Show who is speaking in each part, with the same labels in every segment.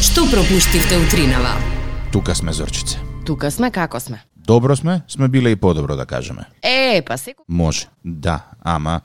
Speaker 1: Што пропуштивте утринава?
Speaker 2: Тука сме зорчице.
Speaker 3: Тука сме како сме.
Speaker 2: Добро сме, сме биле и подобро да кажеме.
Speaker 3: Е, па секој
Speaker 2: Може. Да, ама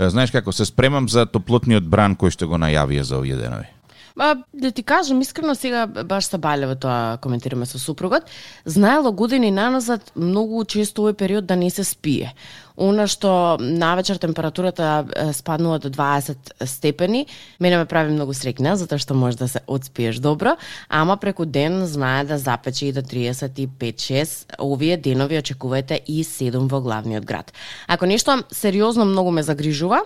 Speaker 2: е, знаеш како се спремам за топлотниот бран кој што го најавија за овие денови.
Speaker 3: Ба, да ти кажам, искрено сега баш са балево тоа коментираме со супругот. Знаело години наназад многу често овој период да не се спие. Она што навечер температурата е, спаднува до 20 степени, мене ме прави многу срекна, затоа што може да се отспиеш добро, ама преку ден знае да запече и до 35-6. Овие денови очекувајте и 7 во главниот град. Ако нешто сериозно многу ме загрижува,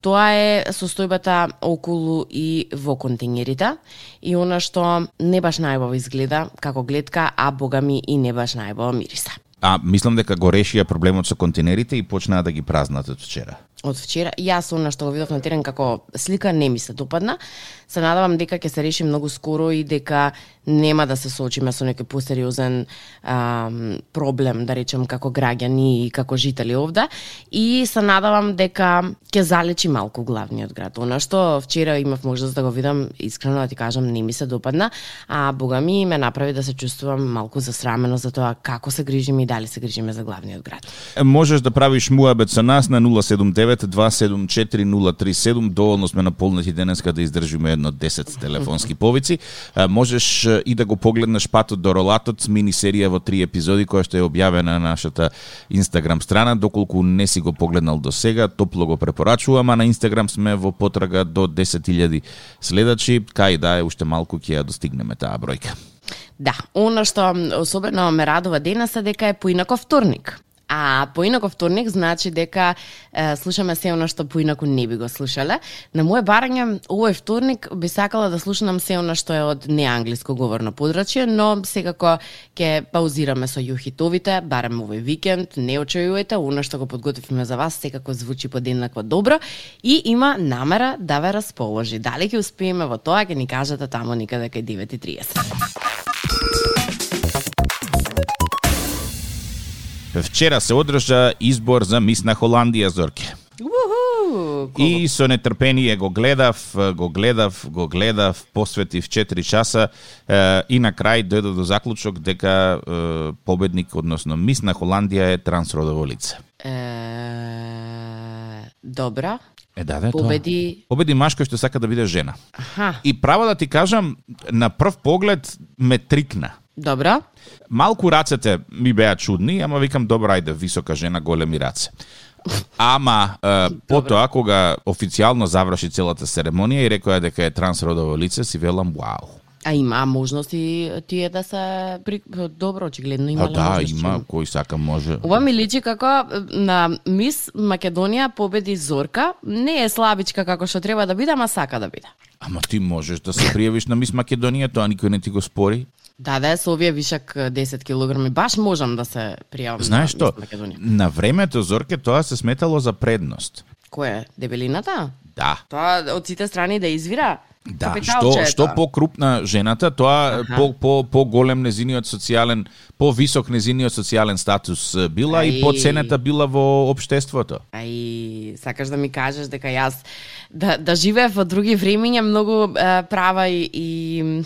Speaker 3: тоа е состојбата околу и во континерите и она што не баш најубаво изгледа како гледка, а бога ми и не баш најубаво мириса.
Speaker 2: А мислам дека го решија проблемот со континерите и почнаа да ги празнат од вчера.
Speaker 3: од вчера. Јас она што го видов на терен како слика не ми се допадна. Се надавам дека ќе се реши многу скоро и дека нема да се соочиме со некој посериозен ам, проблем, да речем, како граѓани и како жители овде. И се надавам дека ќе залечи малку главниот град. Она што вчера имав можност да го видам, искрено да ти кажам, не ми се допадна, а бога ми ме направи да се чувствувам малку засрамено за тоа како се грижиме и дали се грижиме за главниот град.
Speaker 2: Е, Можеш да правиш муабет со нас на 079-274-037. Доволно сме наполнети денеска да издржиме едно 10 телефонски повици. Е, Можеш е, и да го погледнеш Патот до ролатот, мини-серија во три епизоди која што е објавена на нашата Инстаграм страна. Доколку не си го погледнал до сега, топло го препорачувам, а на Инстаграм сме во потрага до 10.000 следачи. Кај да е, уште малку ќе ја достигнеме таа бројка.
Speaker 3: Да, оно што особено ме радува денес е дека е поинако вторник. А поинако вторник значи дека е, слушаме се оно што поинаку не би го слушале. На мое барање овој вторник би сакала да слушнам се оно што е од неанглиско говорно подрачје, но секако ќе паузираме со јухитовите, барем овој викенд, не очајувајте, она што го подготвиме за вас секако звучи подеднакво добро и има намера да ве расположи. Дали ќе успееме во тоа, ќе ни кажете тамо никаде кај 9:30.
Speaker 2: Вчера се одржа избор за мис на Холандија, Зорке.
Speaker 3: Уху!
Speaker 2: И со нетрпение го гледав, го гледав, го гледав, посветив 4 часа е, и на крај дојде до заклучок дека е, победник, односно мис на Холандија е трансродово лице.
Speaker 3: Е, добра.
Speaker 2: Е, да, да, е тоа.
Speaker 3: Победи.
Speaker 2: Победи машко што сака да биде жена.
Speaker 3: Аха.
Speaker 2: И право да ти кажам, на прв поглед ме трикна.
Speaker 3: Добра.
Speaker 2: Малку рацете ми беа чудни, ама викам добра, ајде, висока жена, големи раце. Ама е, потоа кога официјално заврши целата серемонија и рекоа дека е трансродово лице, си велам вау.
Speaker 3: А има можности тие да се при... добро очигледно
Speaker 2: Па
Speaker 3: има
Speaker 2: да, има кој сака може.
Speaker 3: Ова ми личи како е, на мис Македонија победи Зорка. Не е слабичка како што треба да биде, ама сака да биде.
Speaker 2: Ама ти можеш да се пријавиш на мис Македонија, тоа никој не ти го спори.
Speaker 3: Да, да, со овие вишак е, 10 килограми баш можам да се пријавам
Speaker 2: Знаеш
Speaker 3: на
Speaker 2: што?
Speaker 3: Мис Македонија.
Speaker 2: На времето Зорке тоа се сметало за предност.
Speaker 3: Која е? Дебелината?
Speaker 2: Да.
Speaker 3: Тоа од сите страни да извира?
Speaker 2: Да, што
Speaker 3: Капиталче е
Speaker 2: што
Speaker 3: тоа.
Speaker 2: покрупна жената, тоа
Speaker 3: Аха.
Speaker 2: по по по голем незиниот социјален, по висок незиниот социјален статус е, била и
Speaker 3: Ај.
Speaker 2: по цената била во општеството.
Speaker 3: А и сакаш да ми кажеш дека јас да, да живеев во други времиња многу е, права и, и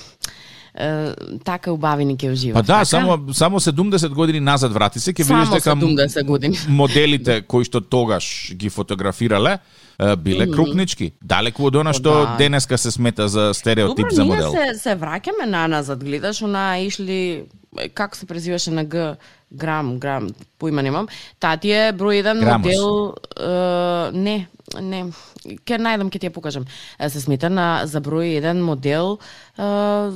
Speaker 3: е, така убавини ќе уживам.
Speaker 2: Па да, само само 70 години назад врати се, ќе видиш дека
Speaker 3: Така? само
Speaker 2: м-
Speaker 3: 70 години.
Speaker 2: моделите кои што тогаш ги фотографирале е, биле крупнички, далеку од она што
Speaker 3: да.
Speaker 2: денеска се смета за стереотип
Speaker 3: Добро,
Speaker 2: за
Speaker 3: ние
Speaker 2: модел.
Speaker 3: се, се враќаме на назад, гледаш, она ишли, е, како се презиваше на Г, Грам, Грам, поима немам, таа ти е број еден
Speaker 2: Грамос.
Speaker 3: модел, е, не, не, ќе најдам, ќе ти ја покажам, Е, се смета на, за број еден модел е,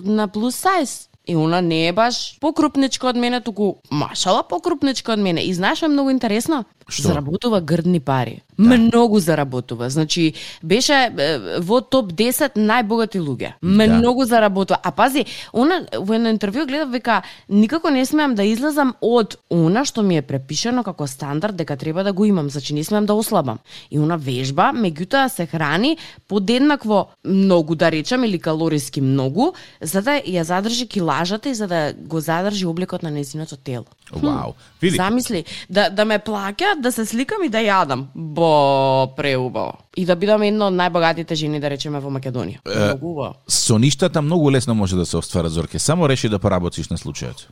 Speaker 3: на плюс сајз. И она не е баш покрупничка од мене, туку машала покрупничка од мене. И знаеш што е многу интересно?
Speaker 2: Што?
Speaker 3: Заработува грдни пари. Да. Многу заработува. Значи, беше е, во топ 10 најбогати луѓе. Многу заработува. А пази, она во едно интервју гледав века никако не смеам да излезам од она што ми е препишано како стандард дека треба да го имам, значи не смеам да ослабам. И она вежба, меѓутоа се храни подеднакво многу да речам или калориски многу, за да ја задржи килажата и за да го задржи обликот на нејзиното тело.
Speaker 2: Вау. Види,
Speaker 3: Замисли, да, да ме плаќа, пат да се сликам и да јадам. Бо, преубаво. И да бидам една од најбогатите жени, да речеме, во Македонија. Многу убаво.
Speaker 2: Со ништата многу лесно може да се оствара Зорке. Само реши да поработиш на случајот.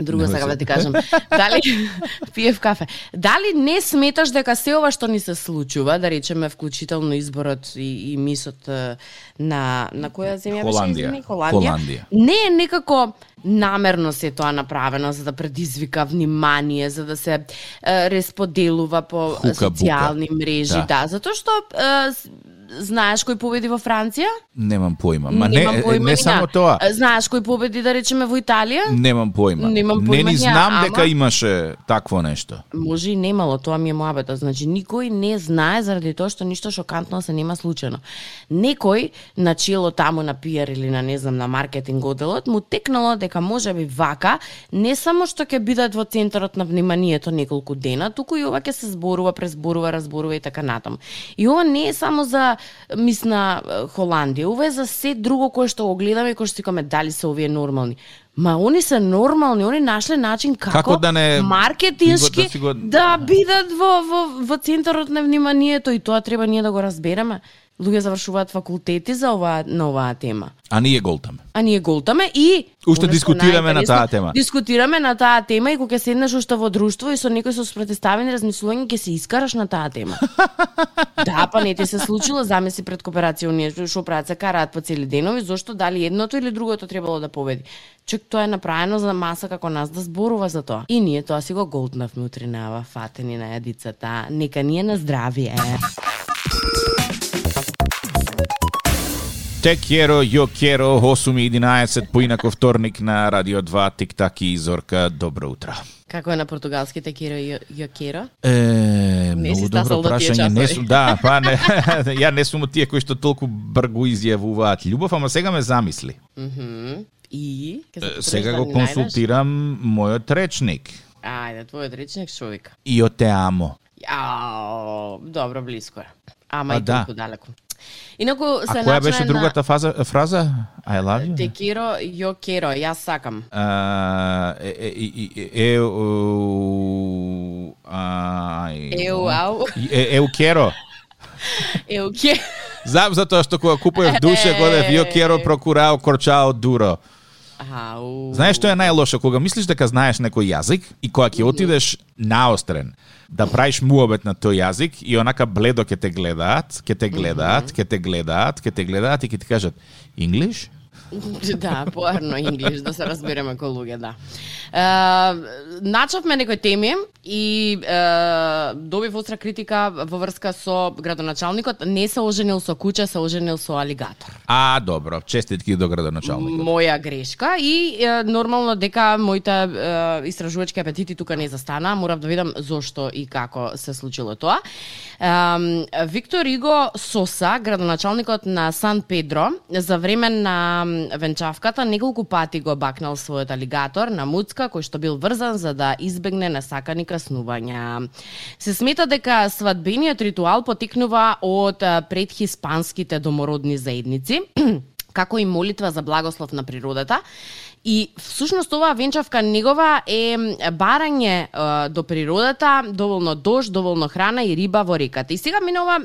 Speaker 3: Друго
Speaker 2: Немој
Speaker 3: сакам
Speaker 2: се.
Speaker 3: да ти кажам. Дали пиев кафе. Дали не сметаш дека се ова што ни се случува, да речеме вклучително изборот и, и мисот е, на на која земја
Speaker 2: Холандија.
Speaker 3: беше извини? Холандија.
Speaker 2: Холандија.
Speaker 3: Не е некако намерно се тоа направено за да предизвика внимание, за да се е, респоделува по
Speaker 2: Хука, бука.
Speaker 3: социјални мрежи,
Speaker 2: Да.
Speaker 3: да. затоа што е, с- знаеш кој победи во Франција?
Speaker 2: Немам појма. Ма не,
Speaker 3: Немам појма
Speaker 2: не
Speaker 3: ни
Speaker 2: само
Speaker 3: ја.
Speaker 2: тоа.
Speaker 3: Знаеш кој победи да речеме во Италија?
Speaker 2: Немам појма.
Speaker 3: Немам
Speaker 2: не
Speaker 3: појма
Speaker 2: ни
Speaker 3: ни ја,
Speaker 2: знам
Speaker 3: ама-
Speaker 2: дека имаше такво нешто.
Speaker 3: Може и немало, тоа ми е моабета. Значи, никој не знае заради тоа што ништо шокантно се нема случајно. Некој на чело таму на пиар или на, не знам, на маркетинг оделот, му текнало дека може би вака, не само што ќе бидат во центарот на вниманието неколку дена, туку и ова ќе се зборува, презборува, разборува и така натаму. И ова не е само за, мисна, Холандија, ова е за се друго кое што го гледаме и кое што си каме, дали се овие нормални. Ма они се нормални, они нашле начин како,
Speaker 2: Како да не-
Speaker 3: маркетиншки
Speaker 2: Да си го-
Speaker 3: да бидат во, во, во центарот на вниманието и тоа треба ние да го разбереме. Луѓе завршуваат факултети за оваа на оваа тема.
Speaker 2: А ние голтаме.
Speaker 3: А ние голтаме и
Speaker 2: Уште
Speaker 3: Оно што
Speaker 2: дискутираме на
Speaker 3: најинтересно,
Speaker 2: таа тема.
Speaker 3: Дискутираме на таа тема и кога ќе седнеш уште во друштво и со некој со спротивставени размислувања ќе се искараш на таа тема. да, па не ти се случило, замисли пред кооперација оние што- што прават се караат по цели денови, зошто дали едното или другото требало да победи. Чек тоа е направено за маса како нас да зборува за тоа. И ние тоа си го голтнавме утре на ова фатени на јадицата. Нека ние на здравје.
Speaker 2: Те керо, јо керо, 8 и 11, поинако вторник на Радио 2, Тик-так и Зорка, добро утро.
Speaker 3: Како е на португалските киро и јокиро?
Speaker 2: Е, многу
Speaker 3: си
Speaker 2: добро
Speaker 3: стасал до тие
Speaker 2: прашање. Не
Speaker 3: часови.
Speaker 2: сум, да, па не, ја не сум од тие кои што толку бргу изјавуваат љубов, ама сега ме замисли.
Speaker 3: Мгм. И? Ке се
Speaker 2: Е,
Speaker 3: потрудиш
Speaker 2: Сега го
Speaker 3: да ни најдеш?
Speaker 2: консултирам мојот речник.
Speaker 3: Ајде, твојот речник што вика?
Speaker 2: Ио те амо.
Speaker 3: Јао, добро, близко е. Ама
Speaker 2: Па
Speaker 3: и толку далеко. Инаку
Speaker 2: А
Speaker 3: се
Speaker 2: која
Speaker 3: начна
Speaker 2: беше другата фаза, фраза? I love you?
Speaker 3: на Текиро Јокеро, јас сакам.
Speaker 2: А, е, е, и- и- е, е, у, ај.
Speaker 3: Еу, ау,
Speaker 2: Е, еу керо.
Speaker 3: еу, ке.
Speaker 2: Знам затоа што кога купував душе, годев јо керо прокурао корчао дуро.
Speaker 3: Ау.
Speaker 2: Знаеш што е најлошо кога мислиш дека знаеш некој јазик и кога ќе отидеш наострен да правиш муабет на тој јазик и онака бледо ќе те гледаат, ќе те гледаат, ќе те гледаат, ќе те гледаат и ќе ти кажат English?
Speaker 3: да, поарно инглиш, да се разбереме кој луѓе, да. Е, начавме некои теми и е, добив остра критика во врска со градоначалникот. Не се оженил со куќа, се оженил со алигатор.
Speaker 2: А, добро, честитки до градоначалникот.
Speaker 3: моја грешка и е, нормално дека моите е, истражувачки апетити тука не застанаа, морав да видам зошто и како се случило тоа. Е, Виктор Иго Соса, градоначалникот на Сан Педро, за време на м, венчавката неколку пати го бакнал својот алигатор на муцка кој што бил врзан за да избегне несакани краснувања. Се смета дека свадбениот ритуал потекнува од е, предхиспанските домородни заедници како и молитва за благослов на природата. И всушност оваа венчавка негова е барање е, до природата, доволно дожд, доволно храна и риба во реката. И сега минува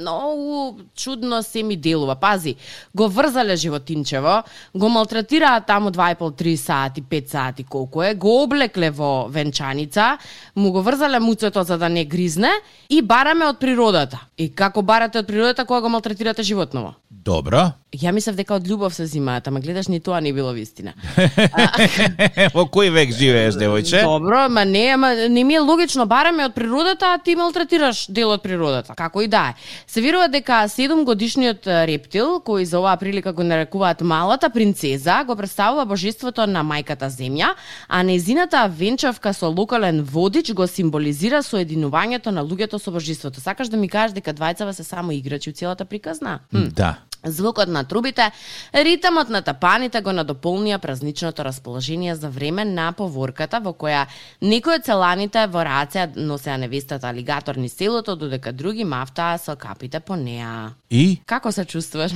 Speaker 3: многу чудно се ми делува. Пази, го врзале животинчево, го малтретираа таму 2,5-3 сати, 5 сати колку е, го облекле во венчаница, му го врзале муцето за да не гризне и бараме од природата. И како барате од природата кога го малтретирате животново?
Speaker 2: Добро.
Speaker 3: Ја мислев дека од љубов се зимаат, ама гледаш ни тоа не било вистина.
Speaker 2: Во кој век живееш, девојче?
Speaker 3: Добро, ма не, ама не ми е логично, бараме од природата, а ти малтретираш дел од природата. Како и да е. Се верува дека 7 годишниот е, рептил, кој за оваа прилика го нарекуваат малата принцеза, го представува божеството на мајката земја, а незината венчавка со локален водич го символизира соединувањето на луѓето со божеството. Сакаш да ми кажеш дека двајцава се само играчи у целата приказна? М.
Speaker 2: Да.
Speaker 3: Звукот на трубите, ритамот на тапаните го надополнија празничното расположение за време на поворката во која некои од целаните во рација носеа невестата алигатор низ селото, додека други мафтаа со капите по неа.
Speaker 2: И
Speaker 3: Како се чувствуваш?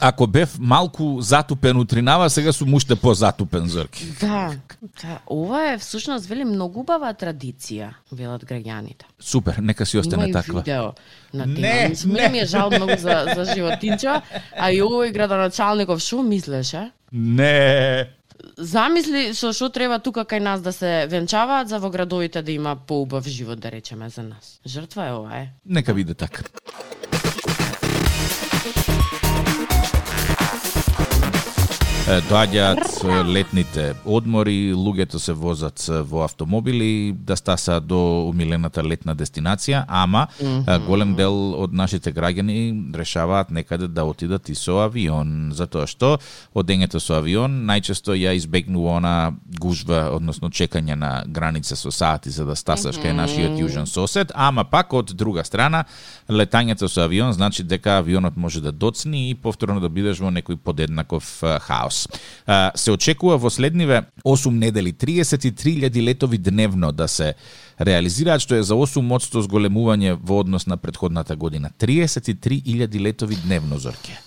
Speaker 2: ако бев малку затупен утринава, сега сум уште позатупен зорки.
Speaker 3: Да, да, ова е всушност вели многу убава традиција, велат граѓаните.
Speaker 2: Супер, нека си
Speaker 3: Има
Speaker 2: остане
Speaker 3: и
Speaker 2: таква.
Speaker 3: видео на тема.
Speaker 2: Не,
Speaker 3: Мислам, мене ми е жал многу за, за животинчо, а и овој градоначалников шо мислеше?
Speaker 2: Не.
Speaker 3: Замисли што што треба тука кај нас да се венчаваат за во градовите да има поубав живот да речеме за нас. Жртва е ова е.
Speaker 2: Нека биде така. Е, Доаѓаат е, летните одмори, луѓето се возат е, во автомобили да стасаат до умилената летна дестинација, ама е, голем дел од нашите граѓани решаваат некаде да отидат и со авион, затоа што одењето со авион најчесто ја избегнува она гужва, односно чекање на граница со сати за да стасаш кај нашиот јужен сосед, ама пак од друга страна, летањето со авион значи дека авионот може да доцни и повторно да бидеш во некој подеднаков а, хаос. А, Се очекува во следниве 8 недели 33.000 летови дневно да се реализираат, што е за 8% зголемување во однос на предходната година. 33.000 летови дневно, Зорке.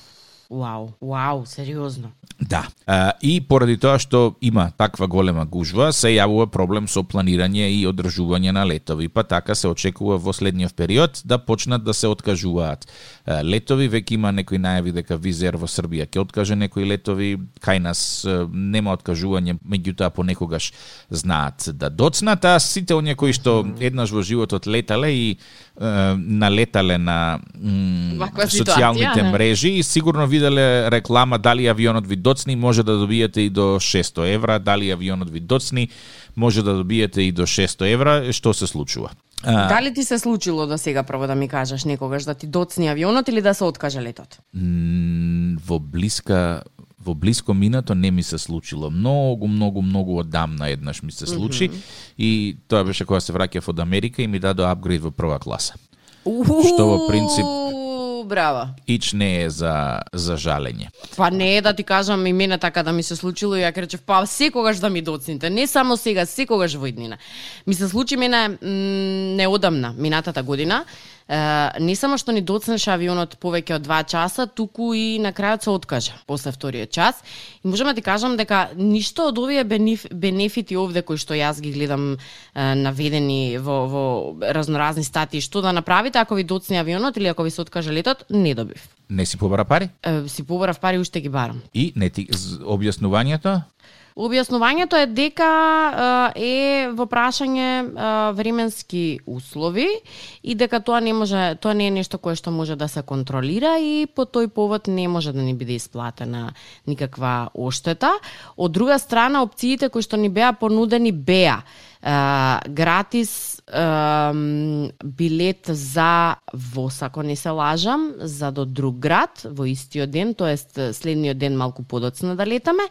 Speaker 3: Вау, вау, сериозно.
Speaker 2: Да. А, и поради тоа што има таква голема гужва, се јавува проблем со планирање и одржување на летови, па така се очекува во следниот период да почнат да се откажуваат а, летови. Веќе има некои најави дека Визер во Србија ќе откаже некои летови, кај нас а, нема откажување, меѓутоа понекогаш знаат да доцнат, а сите оние кои што еднаш во животот летале и а, налетале на м,
Speaker 3: Ваква
Speaker 2: социјалните
Speaker 3: ситуација, да. не?
Speaker 2: мрежи и сигурно виделе реклама дали авионот ви доцни може да добиете и до 600 евра, дали авионот ви доцни може да добиете и до 600 евра, што се случува? А,
Speaker 3: Дали ти се случило до сега прво да ми кажеш некогаш да ти доцни авионот или да се откаже летот?
Speaker 2: м, во блиска во блиско минато не ми се случило. Многу, многу, многу одамна еднаш ми се случи и тоа беше кога се враќав од Америка и ми дадоа апгрейд во прва класа. Што во принцип-
Speaker 3: Уу, Браво.
Speaker 2: Ич не е за за жалење.
Speaker 3: Па не е да ти кажам и мене така да ми се случило и ја кречев па секогаш да ми доцните, не само сега, секогаш во иднина. Ми се случи мене м, неодамна, минатата година, е, не само што ни доцнеше авионот повеќе од 2 часа, туку и на крајот се откажа после вториот час. И можам да ти кажам дека ништо од овие бенеф- бенефити овде кои што јас ги гледам е, наведени во, во разноразни статии, што да направите ако ви доцне авионот или ако ви се откаже летот, не добив.
Speaker 2: Не си побара пари?
Speaker 3: Е, си поборав пари, уште ги барам.
Speaker 2: И не ти з- објаснувањето?
Speaker 3: Објаснувањето е дека е, е во прашање е, временски услови и дека тоа не може, тоа не е нешто кое што може да се контролира и по тој повод не може да ни биде исплатена никаква оштета. Од друга страна, опциите кои што ни беа понудени беа е, гратис ем, билет за ВОС, ако не се лажам, за до друг град во истиот ден, тоест следниот ден малку подоцна да летаме,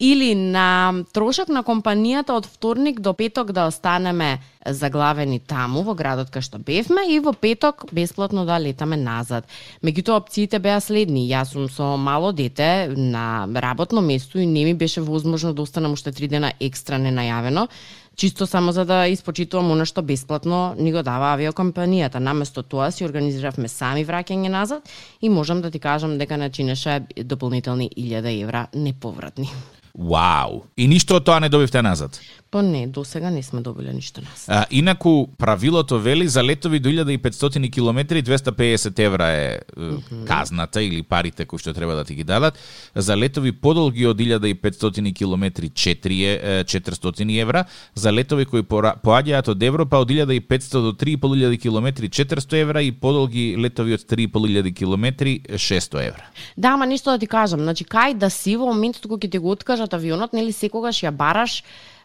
Speaker 3: или на трошок на компанијата од вторник до петок да останеме заглавени таму во градот кај што бевме и во петок бесплатно да летаме назад. Меѓутоа опциите беа следни. Јас сум со мало дете на работно место и не ми беше возможно да останам уште три дена екстра ненајавено, чисто само за да испочитувам она што бесплатно ни го дава авиокомпанијата. Наместо тоа си организиравме сами враќање назад и можам да ти кажам дека начинеше дополнителни 1000 евра неповратни.
Speaker 2: Вау! И ништо од тоа не добивте назад.
Speaker 3: Па не, до сега не сме добиле ништо нас.
Speaker 2: А, инаку, правилото вели за летови до 1500 км 250 евра е mm казната или парите кои што треба да ти ги дадат. За летови подолги од 1500 км 4 е, е, 400 евра. За летови кои пора- поаѓаат од Европа од 1500 до 3500 км 400 евра и подолги летови од 3500 км 600 евра.
Speaker 3: Да, ама ништо да ти кажам, значи кај да си во моментот кога ќе ти го откажат авионот, нели секогаш ја бараш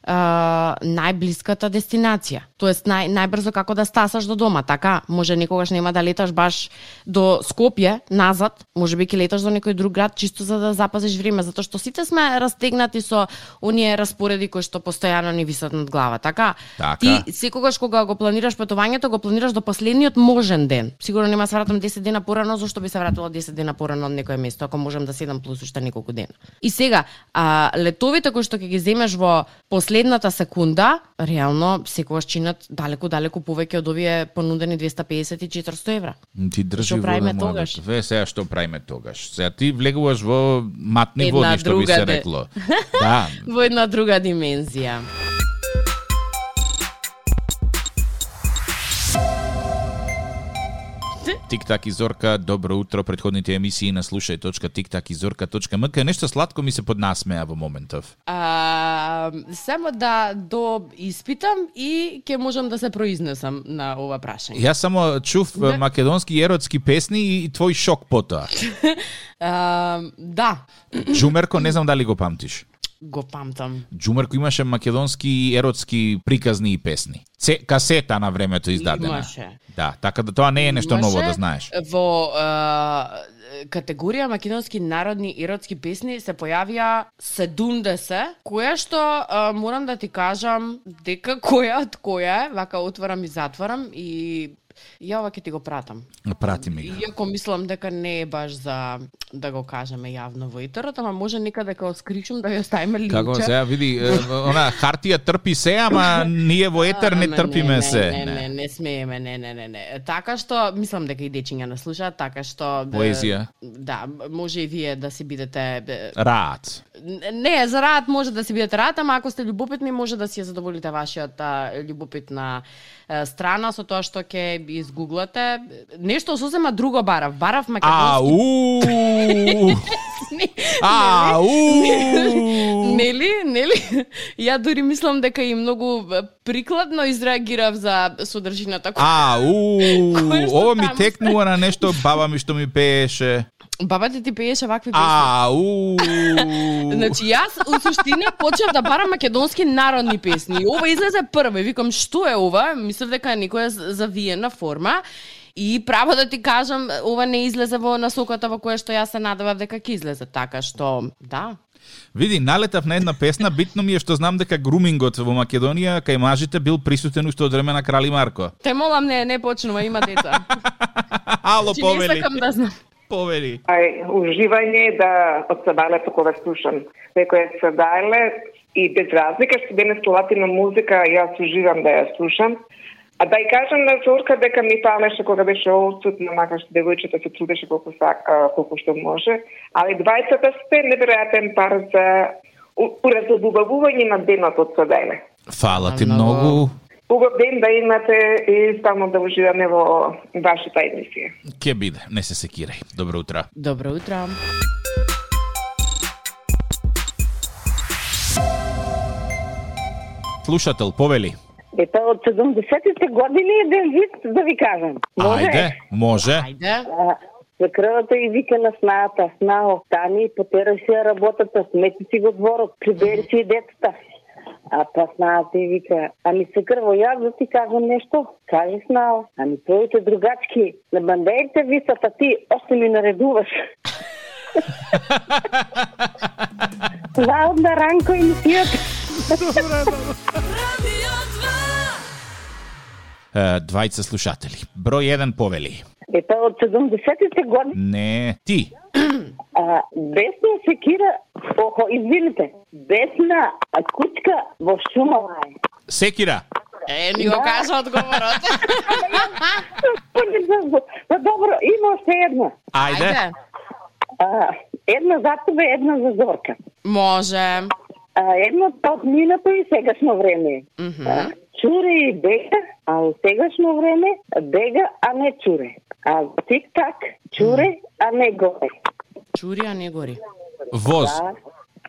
Speaker 3: а, најблиската дестинација. Тоест нај, најбрзо како да стасаш до дома, така? Може некогаш нема да леташ баш до Скопје назад, може би ќе леташ до некој друг град чисто за да запазиш време, затоа што сите сме растегнати со оние распореди кои што постојано ни висат над глава, така?
Speaker 2: Така.
Speaker 3: Ти секогаш кога го планираш патувањето, го планираш до последниот можен ден. Сигурно нема се вратам 10 дена порано, зошто би се вратила 10 дена порано од некое место, ако можам да седам плюс уште неколку дена. И сега, а, летовите кои што ќе ги земеш во последниот последната секунда, реално, секогаш чинат далеку, далеку повеќе од овие понудени 250 и 400 евра.
Speaker 2: Ти држи
Speaker 3: Што правиме
Speaker 2: вода,
Speaker 3: тогаш?
Speaker 2: младата. Ве, сега што правиме тогаш? Сега ти влегуваш во матни
Speaker 3: Една
Speaker 2: води, што би се
Speaker 3: другаде.
Speaker 2: рекло. Да,
Speaker 3: Во една друга димензија.
Speaker 2: Тик-так и Зорка, добро утро, предходните емисии на слушај.тик-так и Зорка.мк. Нешто сладко ми се поднасмеа во моментов.
Speaker 3: А, само да до испитам и ќе можам да се произнесам на ова прашање.
Speaker 2: Јас само чув э,
Speaker 3: Да.
Speaker 2: македонски еротски песни и твој шок потоа.
Speaker 3: А, да,
Speaker 2: Джумерко, не знам дали го памтиш.
Speaker 3: го памтам.
Speaker 2: Джумерко имаше македонски еротски приказни и песни. Се, касета на времето издадена.
Speaker 3: Имаше.
Speaker 2: Да, така да тоа не е нешто ново да
Speaker 3: Имаше
Speaker 2: знаеш.
Speaker 3: Во е, категорија македонски народни еротски песни се појавија 70, која што е, морам да ти кажам дека која од која е, вака отворам и затворам и ја ова ќе ти го пратам.
Speaker 2: Прати ми го.
Speaker 3: Иако мислам дека не е баш за да го кажеме јавно во етерот, ама може некаде кога скричам да ја оставиме линче.
Speaker 2: Како сега види, е, она хартија трпи се, ама ние во етер не
Speaker 3: Ама
Speaker 2: трпиме се.
Speaker 3: Не, не, не, не смееме, не, не, не, не. Така што, мислам дека и дечиња не слушаат, така што... бе,
Speaker 2: Поезија.
Speaker 3: Да, може и вие да си бидете... бе,
Speaker 2: Раат.
Speaker 3: Не, за рад може да си бидете рад, ама ако сте любопитни, може да си ја задоволите вашиот а, любопитна а, страна со тоа што ќе изгуглате. Нешто сосема друго барав. Барав македонски.
Speaker 2: Ау! Ау!
Speaker 3: Нели, нели? Ја дури мислам дека и многу прикладно изреагирав за содржината. која-
Speaker 2: Ау!
Speaker 3: Кој е што
Speaker 2: Ова ми
Speaker 3: таму?
Speaker 2: текнува на нешто баба ми што ми пееше.
Speaker 3: Баба ти ти пееше вакви песни.
Speaker 2: Ау!
Speaker 3: Значи јас у суштина почнав да барам македонски народни песни. И Ова излезе прво и викам што е ова? Мислев дека е некоја з- завиена форма. И право да ти кажам, ова не излезе во насоката во која што јас се надевав дека ќе излезе, така што да.
Speaker 2: Види, налетав на една песна, битно ми е што знам дека грумингот во Македонија кај мажите бил присутен уште од време на Крали Марко.
Speaker 3: Те молам не, не почнува, има деца.
Speaker 2: Ало,
Speaker 3: Чи не
Speaker 2: повели,
Speaker 3: сакам да знам.
Speaker 2: повели.
Speaker 1: Ај, uživanje да од Сабалето кога слушам. Некоја е Сабале и без разлика што денес латино музика, јас уживам да ја слушам. А да ја кажам на Зорка дека ми палеше кога беше отсутна, макар што девојчето се трудеше колку, сака, колку што може, али двајцата сте неверојатен пар за у- уразобубавување на денот од Сабале.
Speaker 2: Фала ти
Speaker 3: Многу.
Speaker 2: многу.
Speaker 1: Убав ден да имате и само да уживаме во вашата емисија.
Speaker 2: Ке биде, не се секирај. Добро утро.
Speaker 3: Добро утро.
Speaker 2: Слушател, повели.
Speaker 4: Ето, од 70-те години еден вид, да ви кажам. Може?
Speaker 2: Ајде, може.
Speaker 3: Ајде.
Speaker 4: А, За кръвата и вика на снаята, сна остани, потераш си ја работата, смети си го дворот, прибери си и децата. А па снаата и вика, ами се крво, ја да ти кажам нещо, кажи снао, ами твоите другачки, на бандерите висат, а ти още ми наредуваш. Лаудна ранко и мисијата.
Speaker 2: Е, Двајца слушатели. Број 1 повели.
Speaker 4: Ето, од 70-те години
Speaker 2: Не, ти.
Speaker 4: А, Бесна секира, охо, извините, Бесна а, кучка во Шумава е.
Speaker 2: Секира.
Speaker 3: Е, ни го кажа одговорот.
Speaker 4: Па добро, има още една.
Speaker 2: Ајде.
Speaker 3: Ајде.
Speaker 4: А, една за тебе, една за Зорка.
Speaker 3: Може.
Speaker 4: А, едната од минато и сегашно време. Mm-hmm. Чуре и бега, а у сегашно време бега, а не чуре. А тик-так, чуре, а не горе.
Speaker 3: Чури, а не гори.
Speaker 2: Воз.
Speaker 4: А,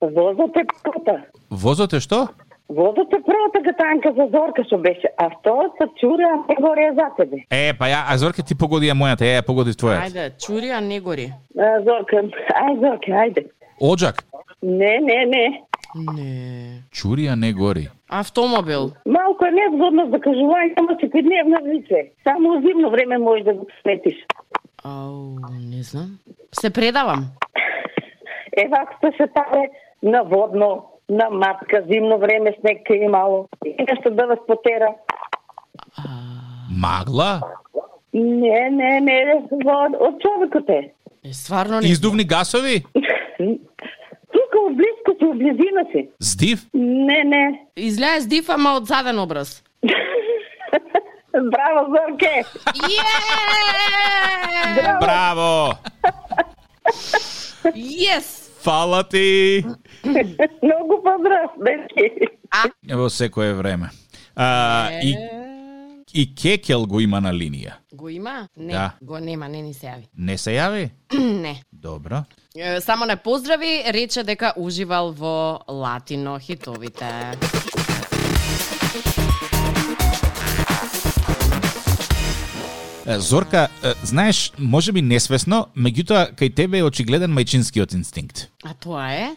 Speaker 4: возот е пута.
Speaker 2: Возот е што?
Speaker 4: Водата првата гатанка за Зорка што беше, а втората чура не горе е за тебе.
Speaker 2: Е, па ја, а Зорка ти погоди ја мојата, ја, ја погоди твојата.
Speaker 3: Ајде, чури, а не гори.
Speaker 4: А, Зорка, ај Зорка, ајде.
Speaker 2: Оджак.
Speaker 4: Не, не, не.
Speaker 3: Не.
Speaker 2: Чурија не гори.
Speaker 3: Автомобил.
Speaker 4: Малку е да незгодно за кажување, ама се дневна вице. Само у зимно време можеш да го сметиш.
Speaker 3: Ау, не знам. Се предавам.
Speaker 4: Е, вакто се таре на водно, на матка, зимно време снег ке имало. И нешто да вас потера.
Speaker 2: Магла?
Speaker 4: Не, не, не, вод, од човекот е.
Speaker 3: Е, стварно не.
Speaker 2: Издувни гасови?
Speaker 4: Тука близко се у близина си.
Speaker 2: Здив?
Speaker 4: Не, не.
Speaker 3: Изгледа здив, ама од заден образ.
Speaker 4: Браво, Зорке!
Speaker 3: Је!
Speaker 2: Браво!
Speaker 3: Јес!
Speaker 2: Фала ти!
Speaker 4: Много поздрав, дечки!
Speaker 2: Во секое време. А, и, и Кекел го има на линија.
Speaker 3: Го има? Не,
Speaker 2: Да.
Speaker 3: го нема, не ни се јави.
Speaker 2: Не се јави?
Speaker 3: не.
Speaker 2: Добро.
Speaker 3: Е, Само не поздрави, рече дека уживал во латино хитовите.
Speaker 2: Е, Зорка, е, знаеш, може би несвесно, меѓутоа кај тебе е очигледен мајчинскиот инстинкт.
Speaker 3: А тоа е?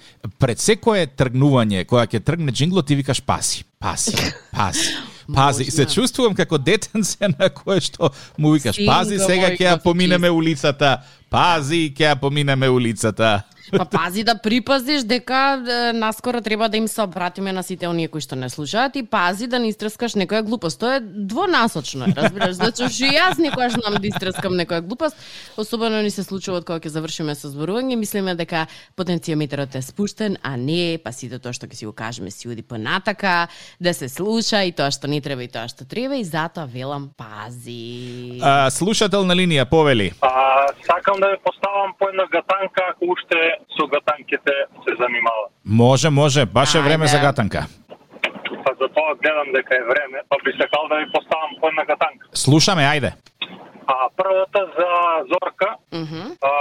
Speaker 2: Пред секое тргнување, која ќе тргне джинглот, ти викаш паси, паси, паси. Пази,
Speaker 3: Можна.
Speaker 2: се чувствувам како детенце на кое што му викаш,
Speaker 3: Син
Speaker 2: пази,
Speaker 3: го
Speaker 2: сега
Speaker 3: мој
Speaker 2: ќе ја поминеме улицата, пази, ќе ја поминеме улицата.
Speaker 3: Па пази да припазиш дека е, наскоро треба да им се обратиме на сите оние кои што не слушаат и пази да не истрскаш некоја глупост. Тоа е двонасочно, е, разбираш? Значи што и јас некогаш знам да истрскам некоја глупост, особено ни се случува од кога ќе завршиме со зборување, мислиме дека потенциометерот е спуштен, а не, па сите тоа што ќе си го кажеме си уди понатака, да се слуша и тоа што не треба и тоа што треба и затоа велам пази.
Speaker 2: А, слушател на линија, повели.
Speaker 5: А, сакам да ве поставам по една гатанка, ако уште со гатанките се занимава.
Speaker 2: Може, може, баш е време
Speaker 3: Ајде.
Speaker 2: за гатанка.
Speaker 5: Па за тоа гледам дека е време, па би сакал да ви поставам по една гатанка.
Speaker 2: Слушаме, ајде.
Speaker 5: А првата за Зорка,
Speaker 3: Мгм.
Speaker 5: а,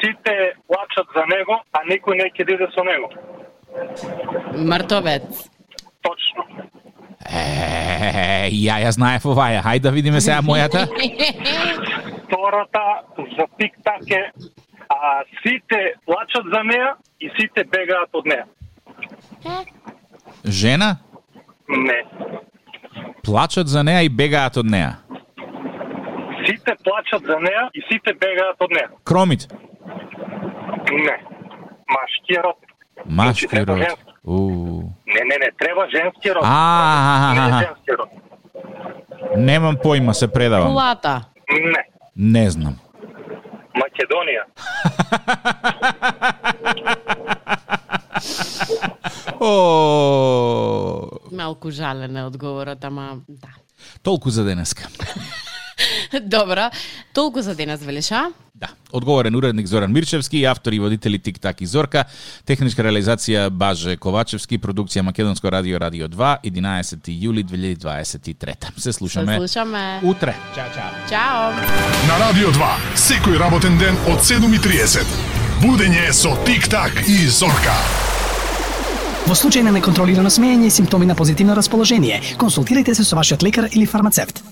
Speaker 5: сите плачат за него, а никој не ќе диде со него.
Speaker 3: Мртовец.
Speaker 5: Точно.
Speaker 2: Е, ја ја знаев оваја. Хајде да видиме сега мојата.
Speaker 5: Втората за тик-так е, а сите плачат за неа и сите бегаат од неа.
Speaker 2: Жена
Speaker 5: Не.
Speaker 2: плачат за неа и бегаат од неа.
Speaker 5: Сите плачат за неа и сите бегаат од неа.
Speaker 2: Кромит.
Speaker 5: Не. Машки род.
Speaker 2: Машки род. У.
Speaker 5: Не, не, не, треба женски род. Не,
Speaker 2: А,
Speaker 5: женски род.
Speaker 2: немам појма, се предавам.
Speaker 3: Плата.
Speaker 5: Не.
Speaker 2: Не знам.
Speaker 5: Македонија.
Speaker 2: О,
Speaker 3: Малку жален е одговорот, ама да.
Speaker 2: толку за денеска.
Speaker 3: Добро, толку за денес велиша.
Speaker 2: Да, одговорен уредник Зоран Мирчевски, автор и водители Тик Так и Зорка, техничка реализација Баже Ковачевски, продукција Македонско радио Радио 2, 11. јули 2023. Се
Speaker 3: Се
Speaker 2: слушаме
Speaker 3: слушаме.
Speaker 2: утре. Чао, чао.
Speaker 3: Чао.
Speaker 6: На Радио 2, секој работен ден од 7.30. Будење со Тик-так и Зорка.
Speaker 7: Во случај на неконтролирано смеење и симптоми на позитивно расположение, консултирайте се со вашиот лекар или фармацевт.